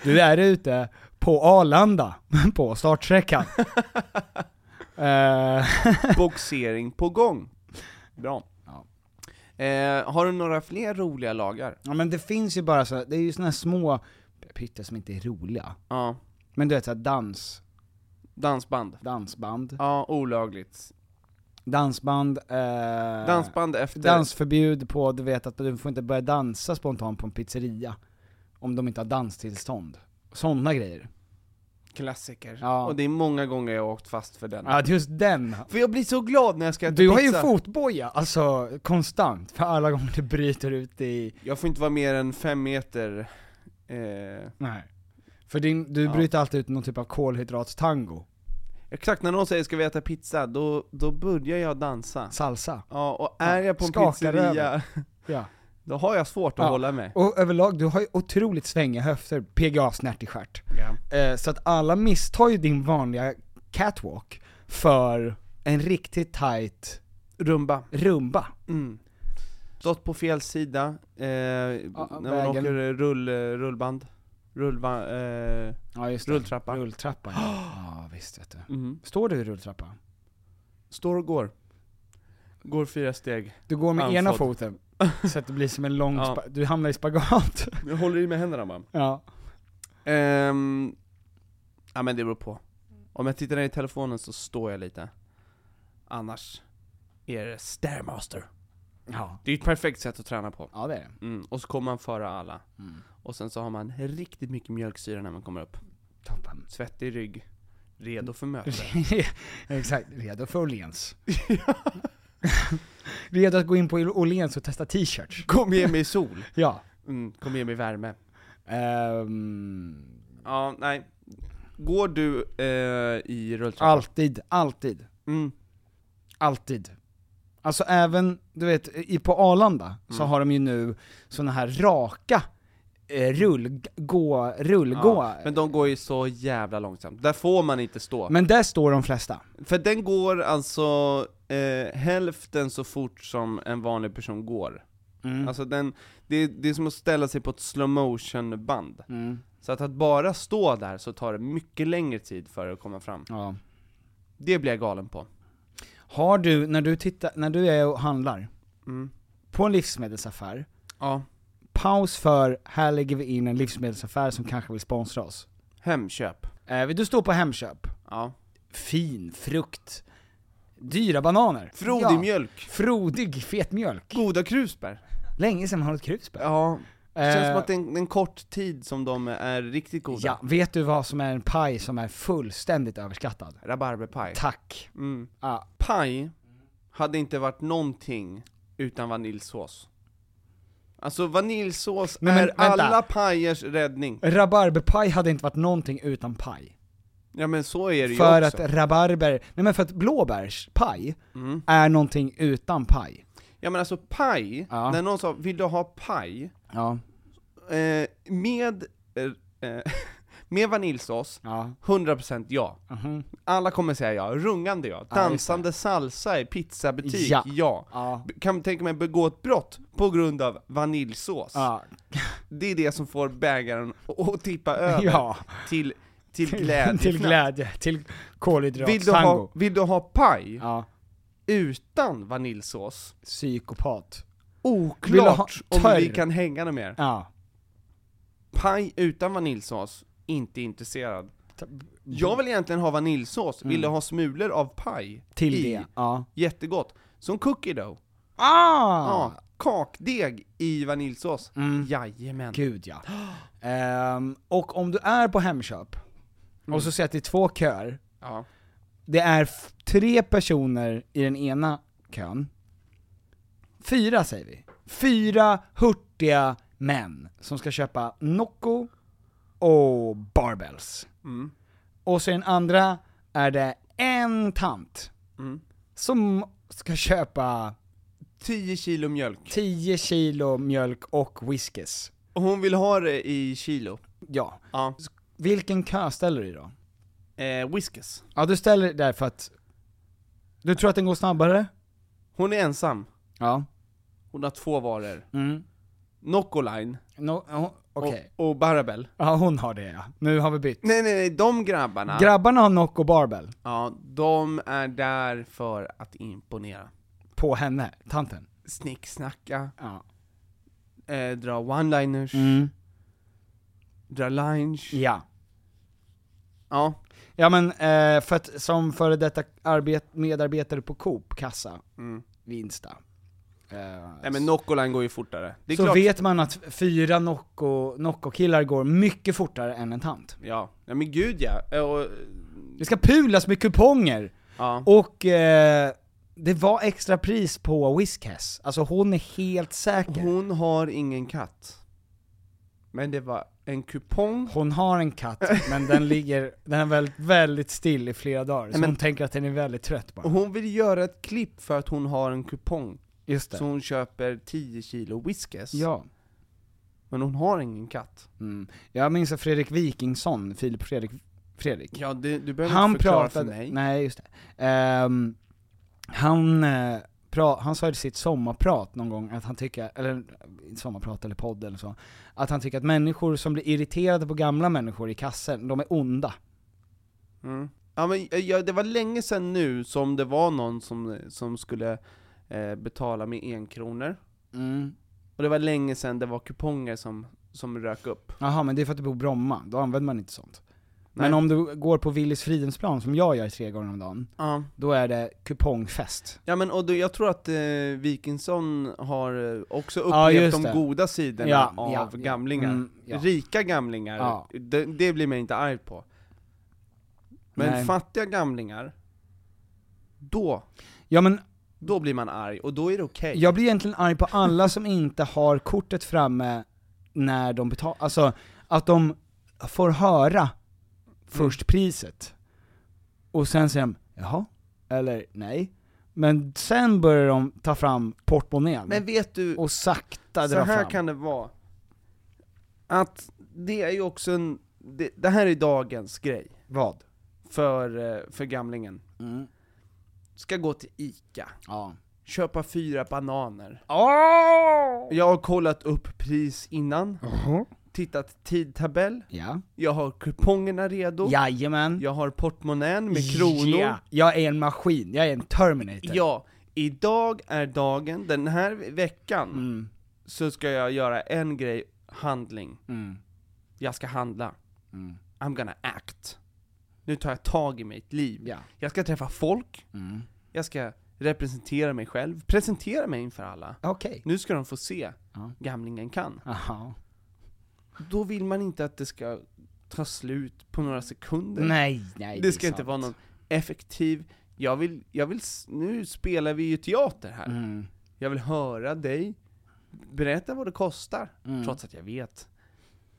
Speaker 2: Du är ute på Arlanda, på startsträckan. Eh,
Speaker 3: Boxering på gång. Bra.
Speaker 2: Ja.
Speaker 3: Eh, har du några fler roliga lagar?
Speaker 2: ja men det finns ju bara så, det är ju såna här små pytte som inte är roliga.
Speaker 3: Ja.
Speaker 2: Men du vet såhär dans,
Speaker 3: Dansband.
Speaker 2: dansband,
Speaker 3: Ja, olagligt.
Speaker 2: dansband, eh,
Speaker 3: Dansband efter...
Speaker 2: Dansförbud på, du vet att du får inte börja dansa spontant på en pizzeria Om de inte har danstillstånd Sådana grejer
Speaker 3: klassiker.
Speaker 2: Ja.
Speaker 3: Och det är många gånger jag har åkt fast för den.
Speaker 2: Ja, just den.
Speaker 3: För jag blir så glad när jag ska äta
Speaker 2: Du har ju
Speaker 3: pizza.
Speaker 2: fotboja, alltså konstant, för alla gånger du bryter ut i...
Speaker 3: Jag får inte vara mer än fem meter eh,
Speaker 2: Nej. För din, du
Speaker 3: Ja.
Speaker 2: bryter alltid ut någon typ av kolhydratstango,
Speaker 3: Exakt, när någon säger 'ska vi äta pizza?' då, då börjar jag dansa.
Speaker 2: salsa.
Speaker 3: Ja, och är
Speaker 2: Ja,
Speaker 3: jag på en
Speaker 2: skakar
Speaker 3: pizzeria,
Speaker 2: över. Ja.
Speaker 3: då har jag svårt att
Speaker 2: Ja.
Speaker 3: hålla mig.
Speaker 2: Och överlag, du har ju otroligt svängiga höfter, PGA snärtig stjärt. Eh, så att alla misstar ju din vanliga catwalk för en riktigt tight
Speaker 3: Rumba.
Speaker 2: rumba.
Speaker 3: Mm. Stått på fel sida, eh, när man
Speaker 2: vägen.
Speaker 3: åker rull, rullband, rullba, eh,
Speaker 2: Ja just
Speaker 3: rulltrappa.
Speaker 2: Rulltrappa ja. ja, visst vet du.
Speaker 3: Mm.
Speaker 2: Står du i rulltrappa?
Speaker 3: Står och går. Går fyra steg.
Speaker 2: Du går med ena
Speaker 3: Andfådd.
Speaker 2: foten, så att det blir som en lång
Speaker 3: Ja.
Speaker 2: spa- du hamnar i spagat.
Speaker 3: Jag håller i med händerna bara.
Speaker 2: ja.
Speaker 3: Ehm, ja men det beror på. Om jag tittar ner i telefonen så står jag lite. Annars är det stairmaster.
Speaker 2: ja.
Speaker 3: Det är ju ett perfekt sätt att träna på.
Speaker 2: Ja det är det.
Speaker 3: Mm. Och så kommer man före alla.
Speaker 2: Mm.
Speaker 3: Och sen så har man riktigt mycket mjölksyra när man kommer upp.
Speaker 2: Toppen.
Speaker 3: Svettig rygg, redo för möte.
Speaker 2: Mm. Exakt, redo för Åhléns. redo att gå in på Åhléns och testa t-shirts.
Speaker 3: Kom ge mig sol.
Speaker 2: Ja.
Speaker 3: Mm, kom ge mig värme.
Speaker 2: Ehm,
Speaker 3: Ja, nej. Går du eh, i rulltrappan?
Speaker 2: alltid, alltid,
Speaker 3: Mm.
Speaker 2: alltid. Alltså även, du vet, i, på Arlanda
Speaker 3: Mm.
Speaker 2: så har de ju nu såna här raka eh, rull, gå, rullgå.
Speaker 3: Ja, men de går ju så jävla långsamt. Där får man inte stå.
Speaker 2: men där står de flesta.
Speaker 3: För den går alltså eh, hälften så fort som en vanlig person går. Alltså den, det, det är som att ställa sig på ett slow motion band
Speaker 2: Mm.
Speaker 3: Så att, att bara stå där så tar det mycket längre tid för att komma fram.
Speaker 2: Ja.
Speaker 3: Det blir jag galen på.
Speaker 2: Har du, när du tittar, när du är och handlar,
Speaker 3: Mm.
Speaker 2: på en livsmedelsaffär,
Speaker 3: Ja.
Speaker 2: paus för, här lägger vi in en livsmedelsaffär som kanske vill sponsra oss.
Speaker 3: Hemköp.
Speaker 2: Eh, vill du stå på Hemköp?
Speaker 3: Ja.
Speaker 2: Fin frukt. Dyra bananer.
Speaker 3: Frodig
Speaker 2: Ja.
Speaker 3: mjölk.
Speaker 2: Frodig fetmjölk.
Speaker 3: Goda krusbär.
Speaker 2: Länge sedan man har ett krusbär.
Speaker 3: Ja.
Speaker 2: Eh,
Speaker 3: Känns som att det är en, en kort tid som de är riktigt goda.
Speaker 2: ja, vet du vad som är en paj som är fullständigt överskattad?
Speaker 3: Rabarberpaj.
Speaker 2: Tack.
Speaker 3: Mm.
Speaker 2: Ja,
Speaker 3: paj hade inte varit någonting utan vaniljsås. Alltså vaniljsås
Speaker 2: Men- men
Speaker 3: är
Speaker 2: vänta.
Speaker 3: alla pajers räddning.
Speaker 2: rabarberpaj hade inte varit någonting utan paj.
Speaker 3: Ja men så är det
Speaker 2: För
Speaker 3: ju
Speaker 2: att
Speaker 3: också. Mm.
Speaker 2: rabarber, nej men för att blåbärspaj är någonting utan paj.
Speaker 3: Ja men alltså paj,
Speaker 2: Ja.
Speaker 3: när någon sa 'vill du ha paj?'
Speaker 2: Ja.
Speaker 3: Eh, med, eh, eh, med vaniljsås,
Speaker 2: Ja. Mhm.
Speaker 3: 100% ja. Alla kommer säga ja, rungande ja. Dansande salsa i pizzabutik,
Speaker 2: Ja.
Speaker 3: ja.
Speaker 2: Ja.
Speaker 3: B- Kan tänka mig begå ett brott på grund av vaniljsås.
Speaker 2: Ja.
Speaker 3: Det är det som får bägaren att att tippa över
Speaker 2: Ja.
Speaker 3: till, till glädje.
Speaker 2: till glädje, till
Speaker 3: Vill du, ha,
Speaker 2: kolhydratstango.
Speaker 3: vill du ha paj
Speaker 2: Ja.
Speaker 3: utan vaniljsås?
Speaker 2: Psykopat. Vill du ha
Speaker 3: Oklart om
Speaker 2: törr?
Speaker 3: vi kan hänga det mer.
Speaker 2: Ja.
Speaker 3: Paj utan vaniljsås, inte intresserad. Jag vill egentligen ha vaniljsås, vill du ha smulor av paj?
Speaker 2: Mm. Till
Speaker 3: i?
Speaker 2: det, ja.
Speaker 3: Jättegott. Som cookie dough.
Speaker 2: Ah! Mm.
Speaker 3: Ja, kakdeg i vaniljsås. Jajamän.
Speaker 2: Gud ja. Ehm, och om du är på Hemköp, och så ser jag att det är två köer,
Speaker 3: Ja.
Speaker 2: det är f- tre personer i den ena kön, fyra säger vi. Fyra hurtiga män som ska köpa Nocco och barbells. Och så i den andra är det en tant som ska köpa
Speaker 3: 10 kilo mjölk.
Speaker 2: 10 kilo mjölk och whiskys.
Speaker 3: Och hon vill ha det i kilo.
Speaker 2: Ja.
Speaker 3: Ja.
Speaker 2: Vilken kö ställer du i då?
Speaker 3: Eh, Whiskas.
Speaker 2: Ja du ställer dig där för att du tror att den går snabbare?
Speaker 3: Hon är ensam.
Speaker 2: Ja.
Speaker 3: Hon har två varor.
Speaker 2: Mm.
Speaker 3: Noccoline
Speaker 2: No, ja, Okej.
Speaker 3: och, och Barabel.
Speaker 2: Ja hon har det ja. Nu har vi bytt.
Speaker 3: Nej nej nej, de grabbarna,
Speaker 2: Grabbarna har Nocco och Barbell
Speaker 3: ja, de är där för att imponera.
Speaker 2: på henne, tanten.
Speaker 3: Snicksnacka,
Speaker 2: Ja.
Speaker 3: eh, dra one-liners, dra lines.
Speaker 2: Mm. Ja.
Speaker 3: Ja,
Speaker 2: Ja men eh, för att som före detta arbet- medarbetare på Coop, kassa, vid Insta. Eh,
Speaker 3: Mm. Nej men Noccoline går ju fortare. Det är
Speaker 2: så
Speaker 3: klart.
Speaker 2: vet man att fyra Nocco- Nocco-killar går mycket fortare än en tant.
Speaker 3: Ja. ja, men gud ja. Eh, Och,
Speaker 2: Det ska pulas med kuponger!
Speaker 3: ja.
Speaker 2: Och eh, det var extra pris på Whiskas. Alltså hon är helt säker. Hon,
Speaker 3: Hon har ingen katt. Men det var en kupong.
Speaker 2: har en katt, men den ligger, den är väldigt, väldigt still i flera dagar. Så
Speaker 3: men-
Speaker 2: hon tänker att den är väldigt trött bara.
Speaker 3: Och hon vill göra ett klipp för att hon har en kupong.
Speaker 2: Just det.
Speaker 3: Så hon köper 10 kilo whiskas.
Speaker 2: Ja.
Speaker 3: Men hon har ingen katt.
Speaker 2: Mm. Jag minns att Fredrik Wikingsson, Filip Fredrik, Fredrik.
Speaker 3: Ja, det, du behöver
Speaker 2: han
Speaker 3: inte förklara
Speaker 2: pratade,
Speaker 3: för mig.
Speaker 2: nej just det. Ehm, han, eh, pra, han sa i sitt sommarprat någon gång att han tycker, eller sommarprat eller podd eller så, att han tycker att människor som blir irriterade på gamla människor i kassen, de är onda.
Speaker 3: Mm. Ja, men, eh, ja, det var länge sedan nu som det var någon som, som skulle eh, betala med enkronor. Mm. Och det var länge sedan det var kuponger som, som rök upp.
Speaker 2: Jaha, men det är för att du bor i Bromma, då använder man inte sånt. Men
Speaker 3: Nej.
Speaker 2: om du går på Willys Fridhemsplan, som jag gör tre gånger om dagen,
Speaker 3: Ja.
Speaker 2: då är det kupongfest.
Speaker 3: Ja men och då, jag tror att eh, Wikingsson har eh, också
Speaker 2: Ja,
Speaker 3: upplevt
Speaker 2: just
Speaker 3: de
Speaker 2: det.
Speaker 3: goda sidorna
Speaker 2: Ja,
Speaker 3: av
Speaker 2: ja, ja.
Speaker 3: gamlingar.
Speaker 2: Mm, ja.
Speaker 3: Rika gamlingar,
Speaker 2: Ja.
Speaker 3: det, det blir man inte arg på. Men
Speaker 2: Nej.
Speaker 3: fattiga gamlingar, då,
Speaker 2: Ja men
Speaker 3: då blir man arg, och då är det okej.
Speaker 2: Jag blir egentligen arg på alla som inte har kortet framme när de betalar, alltså att de får höra
Speaker 3: Mm.
Speaker 2: först priset, och sen säger de 'jaha' eller 'nej' Men sen börjar de ta fram portmonnän,
Speaker 3: Men vet du,
Speaker 2: och sakta
Speaker 3: så
Speaker 2: dra
Speaker 3: här
Speaker 2: fram
Speaker 3: kan det vara. Att det är ju också en, det, det här är dagens grej
Speaker 2: Vad?
Speaker 3: för, eh, för gamlingen.
Speaker 2: Mm.
Speaker 3: Ska gå till ICA,
Speaker 2: Ja.
Speaker 3: köpa fyra bananer.
Speaker 2: Oh!
Speaker 3: Jag har kollat upp pris innan, tittat tidtabell,
Speaker 2: Ja.
Speaker 3: jag har kupongerna redo,
Speaker 2: Jajamän.
Speaker 3: jag har portmonnän med kronor.
Speaker 2: Ja. Jag är en maskin, jag är en Terminator.
Speaker 3: Ja, idag är dagen, den här veckan,
Speaker 2: Mm.
Speaker 3: så ska jag göra en grej, handling.
Speaker 2: Mm.
Speaker 3: Jag ska handla.
Speaker 2: Mm.
Speaker 3: I'm gonna act. Nu tar jag tag i mitt liv.
Speaker 2: Ja.
Speaker 3: Jag ska träffa folk,
Speaker 2: Mm.
Speaker 3: jag ska representera mig själv, presentera mig inför alla.
Speaker 2: Okej.
Speaker 3: Nu ska de få se,
Speaker 2: Ja.
Speaker 3: gamlingen kan.
Speaker 2: Jaha.
Speaker 3: då vill man inte att det ska ta slut på några sekunder.
Speaker 2: Nej, nej.
Speaker 3: det,
Speaker 2: är
Speaker 3: ska inte
Speaker 2: sant.
Speaker 3: vara någon effektiv, jag vill, jag vill, s- nu spelar vi ju teater här.
Speaker 2: Mm.
Speaker 3: Jag vill höra dig berätta vad det kostar,
Speaker 2: Mm.
Speaker 3: trots att jag vet.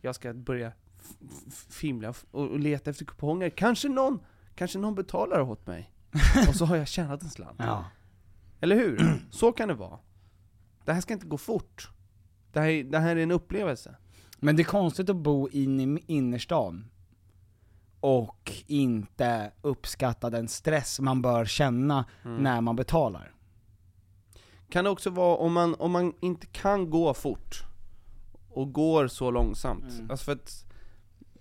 Speaker 3: Jag ska börja f- f- fimla f- och, och leta efter kuponger. Kanske någon, kanske någon betalar åt mig. och så har jag tjänat en slant.
Speaker 2: Ja.
Speaker 3: Eller hur? Så kan det vara. Det här ska inte gå fort. Det här, är- det här är en upplevelse.
Speaker 2: Men det är konstigt att bo in i innerstan och inte uppskatta den stress man bör känna
Speaker 3: Mm.
Speaker 2: när man betalar.
Speaker 3: Kan det också vara om man, om man inte kan gå fort och går så långsamt?
Speaker 2: Mm.
Speaker 3: Alltså för att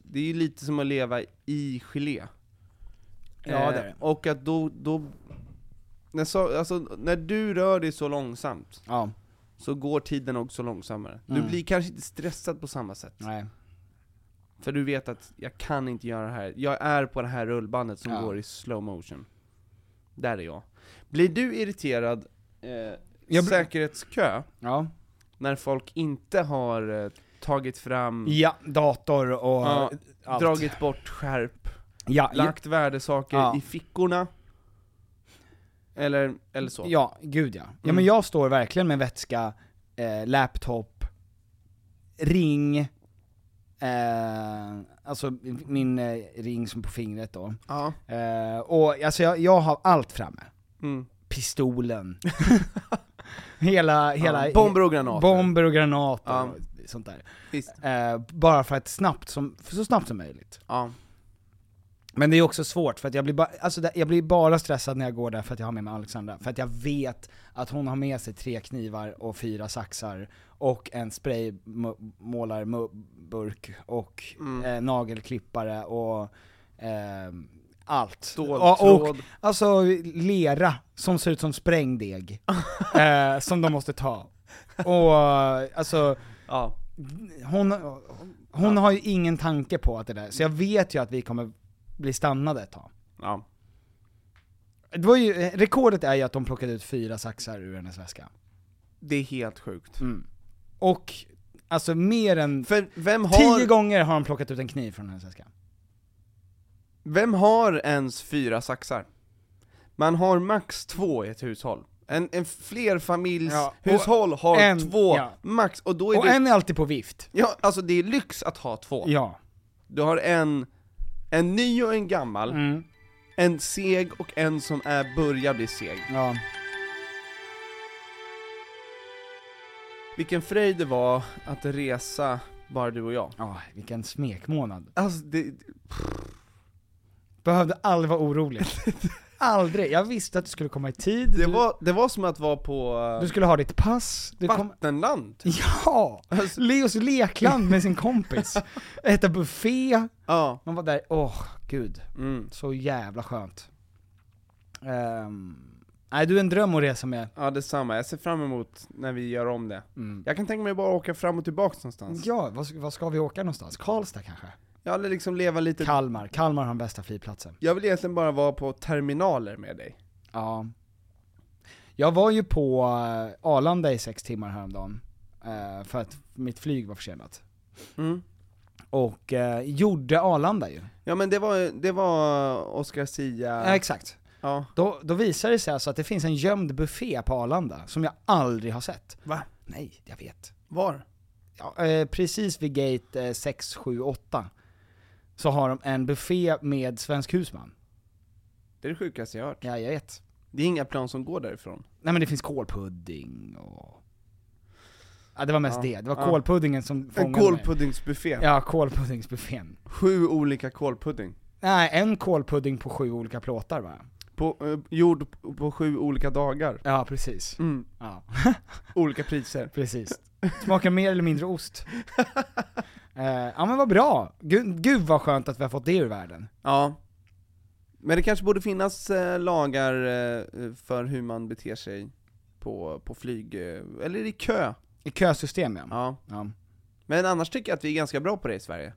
Speaker 3: det är ju lite som att leva i gelé. Eh,
Speaker 2: Ja, det är det.
Speaker 3: Och att då, då när, så, alltså, när du rör dig så långsamt,
Speaker 2: Ja,
Speaker 3: så går tiden också långsammare. Du
Speaker 2: Mm.
Speaker 3: blir kanske inte stressad på samma sätt.
Speaker 2: nej.
Speaker 3: För du vet att jag kan inte göra det här, jag är på det här rullbandet som
Speaker 2: Ja.
Speaker 3: går i slow motion. Där är jag. Blir du irriterad, eh,
Speaker 2: Jag blir-
Speaker 3: säkerhetskö?
Speaker 2: Ja.
Speaker 3: Mm. när folk inte har eh, tagit fram,
Speaker 2: ja, dator och
Speaker 3: Ja,
Speaker 2: allt.
Speaker 3: dragit bort skärp,
Speaker 2: ja, ja,
Speaker 3: lagt värdesaker
Speaker 2: Ja.
Speaker 3: i fickorna. Eller, eller så.
Speaker 2: ja, gud ja. Ja
Speaker 3: Mm.
Speaker 2: men jag står verkligen med vätska, eh, laptop, ring, eh, alltså min eh, ring som på fingret då.
Speaker 3: Ja.
Speaker 2: Eh, och alltså jag, jag har allt framme.
Speaker 3: Mm.
Speaker 2: pistolen. hela, hela...
Speaker 3: ja. Bomber och granater.
Speaker 2: Bomber och granater
Speaker 3: Ja.
Speaker 2: och sånt där.
Speaker 3: Visst.
Speaker 2: Eh, bara för att snabbt som, för så snabbt som möjligt.
Speaker 3: Ja.
Speaker 2: Men det är också svårt, för att jag blir, ba, alltså det, jag blir bara stressad när jag går där för att jag har med mig Alexandra. För att jag vet att hon har med sig tre knivar och fyra saxar, och en spraymålarburk, och
Speaker 3: Mm.
Speaker 2: eh, nagelklippare och eh, allt. och, och
Speaker 3: Ståltråd.
Speaker 2: Alltså lera som ser ut som sprängdeg, eh, som de måste ta. Och alltså,
Speaker 3: Ja.
Speaker 2: hon, hon har ju ingen tanke på att det där, så jag vet ju att vi kommer bli stannade ett tag.
Speaker 3: ja.
Speaker 2: Det var ju, eh, rekordet är ju att de plockade ut fyra saxar ur hennes väska.
Speaker 3: Det är helt sjukt.
Speaker 2: Mm. Och, alltså mer än
Speaker 3: För vem
Speaker 2: tio
Speaker 3: har,
Speaker 2: gånger har han plockat ut en kniv från den här svenskan.
Speaker 3: vem har ens fyra saxar? Man har max två i ett hushåll. En, en
Speaker 2: Ja, och
Speaker 3: flerfamiljshushåll har
Speaker 2: en-
Speaker 3: två,
Speaker 2: ja.
Speaker 3: max, och då är
Speaker 2: Och
Speaker 3: det...
Speaker 2: en är alltid på vift.
Speaker 3: Ja, alltså det är lyx att ha två.
Speaker 2: Ja.
Speaker 3: Du har en, en ny och en gammal,
Speaker 2: Mm.
Speaker 3: en seg och en som är, börjar bli seg.
Speaker 2: Ja.
Speaker 3: Vilken fröjd det var att resa, bara du och jag.
Speaker 2: Ja, vilken smekmånad.
Speaker 3: Alltså det,
Speaker 2: Behövde aldrig vara orolig. aldrig. Jag visste att du skulle komma i tid.
Speaker 3: det,
Speaker 2: du,
Speaker 3: var, det var som att vara på
Speaker 2: du skulle ha ditt pass. Du
Speaker 3: eh,
Speaker 2: kom...
Speaker 3: vattenland.
Speaker 2: Ja!
Speaker 3: Alltså-
Speaker 2: Leos lekland med sin kompis. Äta buffé.
Speaker 3: Ja.
Speaker 2: Man var där, åh gud.
Speaker 3: Mm.
Speaker 2: Så jävla skönt. Ehm, nej, du är en dröm att resa med.
Speaker 3: Ja detsamma, jag ser fram emot när vi gör om det.
Speaker 2: Mm.
Speaker 3: Jag kan tänka mig bara åka fram och tillbaka någonstans.
Speaker 2: Ja, vad, ska- vad ska vi åka någonstans? Karlstad kanske?
Speaker 3: Jag vill liksom leva lite...
Speaker 2: Kalmar. Kalmar har den bästa flygplatsen.
Speaker 3: Jag vill egentligen bara vara på terminaler med dig.
Speaker 2: Ja. Jag var ju på eh, Arlanda i sex timmar häromdagen, eh, för att mitt flyg var försenat.
Speaker 3: Mm.
Speaker 2: Och eh, gjorde Arlanda ju.
Speaker 3: Ja men det var, det var Oscar Sia...
Speaker 2: Ja, exakt.
Speaker 3: ja.
Speaker 2: Då, då visar det sig alltså att det finns en gömd buffé på Arlanda, som jag aldrig har sett.
Speaker 3: Va?
Speaker 2: Nej, jag vet.
Speaker 3: Var?
Speaker 2: Ja, eh, precis vid gate eh, 6, 7, 8 så har de en buffé med svensk husman.
Speaker 3: Det är det sjukaste jag hört.
Speaker 2: Ja, jag vet.
Speaker 3: Det är inga plan som går därifrån.
Speaker 2: Nej men det finns kålpudding och... Ja det var mest
Speaker 3: Ja.
Speaker 2: det, det var
Speaker 3: Ja.
Speaker 2: kålpuddingen som
Speaker 3: En
Speaker 2: fångade mig.
Speaker 3: kålpuddingsbuffé.
Speaker 2: Ja, kålpuddingsbuffén.
Speaker 3: Sju olika kålpudding.
Speaker 2: Nej, en kålpudding på sju olika plåtar va?
Speaker 3: På, eh, gjord p- på sju olika dagar.
Speaker 2: Ja, precis.
Speaker 3: Mm.
Speaker 2: Ja,
Speaker 3: Olika priser.
Speaker 2: precis. Smakar mer eller mindre ost. Eh, ja men vad bra! Gud, gud vad skönt att vi har fått det ur världen.
Speaker 3: Ja. Men det kanske borde finnas eh, lagar eh, för hur man beter sig på, på flyg, eh, eller i kö.
Speaker 2: I kösystem ja.
Speaker 3: Ja.
Speaker 2: ja.
Speaker 3: Men annars tycker jag att vi är ganska bra på det i Sverige.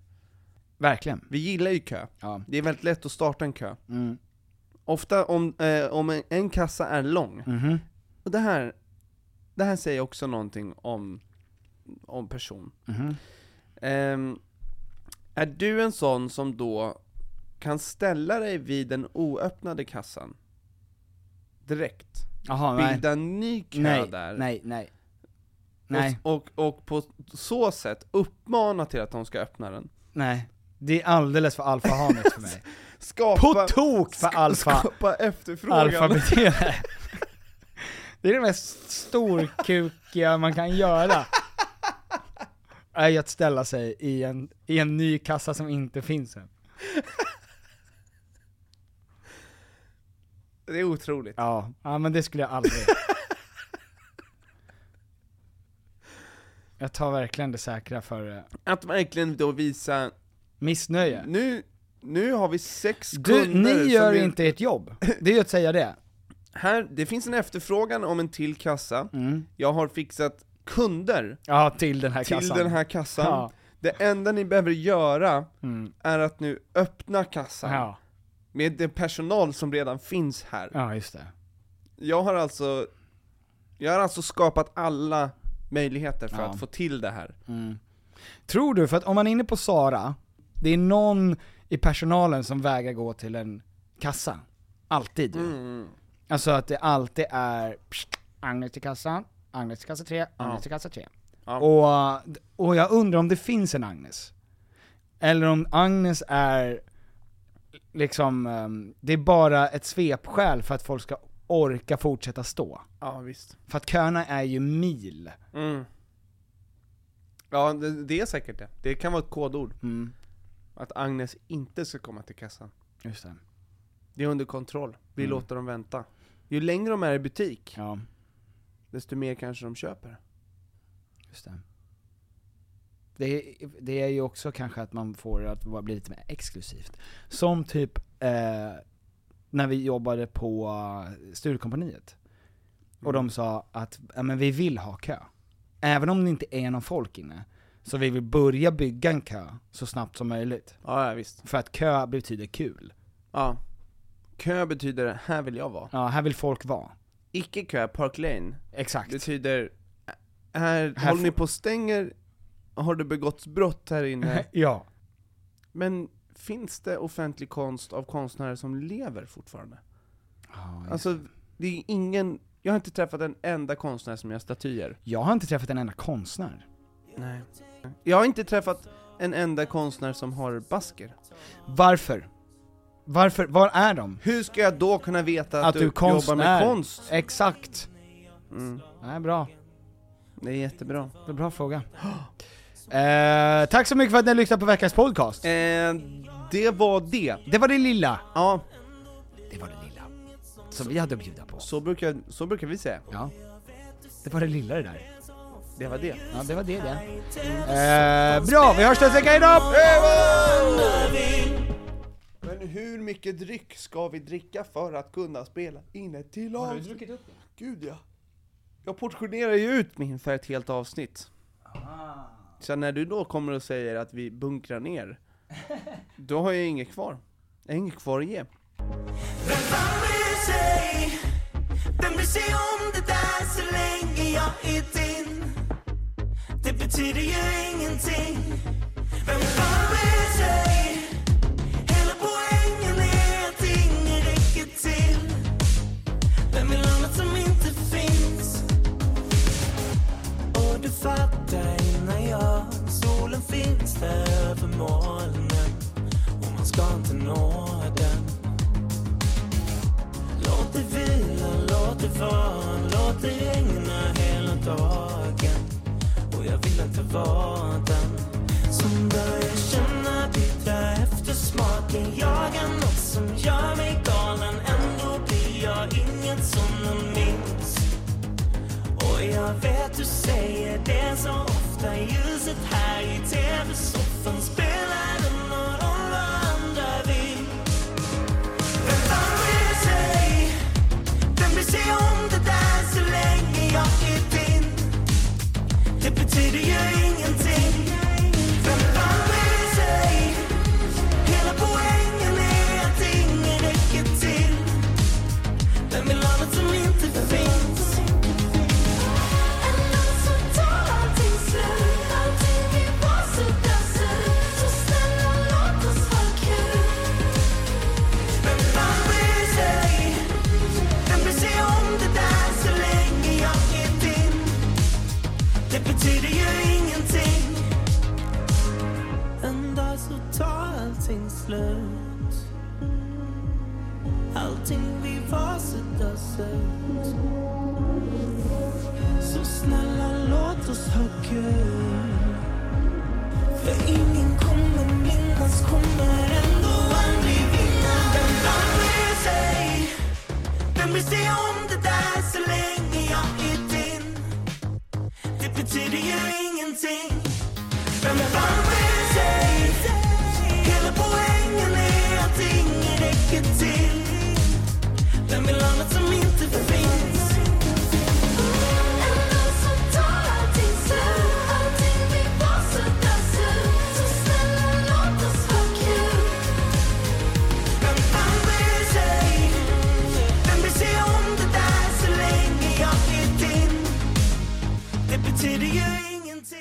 Speaker 2: Verkligen.
Speaker 3: Vi gillar ju kö.
Speaker 2: Ja.
Speaker 3: Det är väldigt lätt att starta en kö.
Speaker 2: Mm.
Speaker 3: Ofta om, eh, om en, en kassa är lång,
Speaker 2: Mhm.
Speaker 3: och det här, det här säger också någonting om, om person.
Speaker 2: Mhm.
Speaker 3: Ehm, är du en sån som då kan ställa dig vid den oöppnade kassan? Direkt?
Speaker 2: Jaha, nej.
Speaker 3: Bilda en ny kö
Speaker 2: Nej,
Speaker 3: där?
Speaker 2: nej, nej.
Speaker 3: Och-
Speaker 2: Nej,
Speaker 3: Och, och på så sätt uppmana till att de ska öppna den?
Speaker 2: nej. Det är alldeles för alfahanigt för mig.
Speaker 3: Skapa,
Speaker 2: På tok för
Speaker 3: ska-
Speaker 2: alfa,
Speaker 3: skapa efterfrågan?
Speaker 2: alfabeterare. Det är det mest storkukiga man kan göra. Är ju att ställa sig i en, i en ny kassa som inte finns än.
Speaker 3: Det är otroligt.
Speaker 2: Ja. Ja men det skulle jag aldrig. Jag tar verkligen det säkra för eh,
Speaker 3: Att verkligen då visa,
Speaker 2: missnöje.
Speaker 3: nu, nu har vi sex
Speaker 2: Du,
Speaker 3: kunder
Speaker 2: ni gör
Speaker 3: som vill-
Speaker 2: inte ert jobb. Det är ju att säga det.
Speaker 3: Här, det finns en efterfrågan om en till kassa, jag har fixat kunder
Speaker 2: Ja, till den Mm. här
Speaker 3: till
Speaker 2: kassan.
Speaker 3: den här kassan.
Speaker 2: Ja.
Speaker 3: Det enda ni behöver göra
Speaker 2: Mm.
Speaker 3: är att nu öppna kassan
Speaker 2: Ja,
Speaker 3: med den personal som redan finns här.
Speaker 2: ja just det.
Speaker 3: Jag har alltså, jag har alltså skapat alla möjligheter för
Speaker 2: Ja.
Speaker 3: att få till det här.
Speaker 2: Tror du, för att om man är inne på Sara, det är någon i personalen som vägrar gå till en kassa. Alltid ju. Alltså att det alltid är pst, Agnes till kassan, Agnes till kassa 3, Agnes till kassa 3.
Speaker 3: Ja.
Speaker 2: Och, och jag undrar om det finns en Agnes. Eller om Agnes är liksom, ehm, det är bara ett svepskäl för att folk ska orka fortsätta stå.
Speaker 3: Ja, visst.
Speaker 2: För att köerna är ju mil.
Speaker 3: Mm. Ja, det, det är säkert det. Det kan vara ett kodord.
Speaker 2: Mm.
Speaker 3: Att Agnes inte ska komma till kassan.
Speaker 2: Just det.
Speaker 3: Det är under kontroll. Vi låter dem vänta. Ju längre de är i butik,
Speaker 2: Mm. Ja,
Speaker 3: desto mer kanske de köper.
Speaker 2: just det. Det, det är ju också kanske att man får det att vara- bli lite mer exklusivt. Som typ eh, när vi jobbade på eh, Sturecompagniet. Och de sa att ja, men vi vill ha kö. Även om det inte är någon folk inne, så vi vill börja bygga en kö så snabbt som möjligt.
Speaker 3: Ja, ja visst.
Speaker 2: För att kö betyder kul.
Speaker 3: Ja. Kö betyder 'här vill jag vara'
Speaker 2: Ja, här vill folk vara.
Speaker 3: Icke kö, Park Lane,
Speaker 2: Exakt.
Speaker 3: betyder eh, här,
Speaker 2: Här
Speaker 3: håller ni
Speaker 2: får-
Speaker 3: på och stänger, har det begåtts brott här inne?
Speaker 2: ja.
Speaker 3: Men finns det offentlig konst av konstnärer som lever fortfarande? Alltså, det är ingen, jag har inte träffat en enda konstnär som gör statyer.
Speaker 2: Jag har inte träffat en enda konstnär.
Speaker 3: Nej. Jag har inte träffat en enda konstnär som har basker.
Speaker 2: Varför? Varför, var är de?
Speaker 3: Hur ska jag då kunna veta att,
Speaker 2: Att du är
Speaker 3: jobbar med
Speaker 2: konstnär.
Speaker 3: konst?
Speaker 2: Exakt.
Speaker 3: Mm.
Speaker 2: Nej, bra.
Speaker 3: Det är jättebra.
Speaker 2: Det är en bra fråga. Eh, tack så mycket för att ni har lyssnat på veckans podcast.
Speaker 3: Eh, det var det.
Speaker 2: Det var det lilla.
Speaker 3: Ja,
Speaker 2: Det var det lilla. Som vi hade att bjuda på.
Speaker 3: så brukar, så brukar vi säga.
Speaker 2: Ja. Det var det lilla det där.
Speaker 3: Det var det.
Speaker 2: Ja, det var det det.
Speaker 3: Mm.
Speaker 2: Eh, bra, vi hörs nästa vecka, hejdå!
Speaker 3: Men hur mycket dryck ska vi dricka för att kunna spela in ett till Har du druckit upp Gud ja. Jag portionerar ju ut min för ett helt avsnitt. Ah. Så när du då kommer och säger att vi bunkrar ner, då har jag inget kvar. Jag har inget kvar att ge.
Speaker 4: Vem fan bryr sig? Vem bryr sig om det där så länge jag är din? Det betyder ju ingenting. Vem fan bryr sig? Hela poängen är att inget räcker till. Vem vill ha något som inte finns? Och du fattar innan jag Solen finns där över molnen och man ska inte nå den Låt det vila, låt det vara, låt det regna hela dagen. Och jag vill att det var den som börjar känna bittra eftersmaken. Jag är något som gör mig galen, ändå blir jag inget som någon minns. Och jag vet du säger det så ofta Ljuset här i tv-soffan spelar det någon roll vad andra vill? Vem fan bryr sig? Vem bryr sig om det där så länge jag är din? Det betyder ju ingenting. Vem fan bryr sig? Hela poängen är att ingen räcker till. Vem vill ha något som inte finns?
Speaker 5: Ändå så tar allting slut, allting är bara så dassigt Så snälla låt oss ha kul
Speaker 4: Vem fan bryr sig? Vem bryr sig om det där så länge jag är din? Det betyder ju ingenting. En dag så tar allting slut. Allting vi var så där sött. Så snälla låt oss ha kul. För ingen kommer minnas, kommer ändå aldrig vinna Vem fan bryr sig? Vem bryr sig om det där så länge jag är din? Det betyder ju ingenting Vem fan bryr sig? Hela poängen är att ingen räcker till Vem vill ha något som inte finns?
Speaker 5: Ändå så tar allting slut, allting är bara så dassigt Så snälla låt oss ha kul
Speaker 4: Vem fan bryr sig? Vem bryr sig om det där så länge jag är din? Det betyder ju ingenting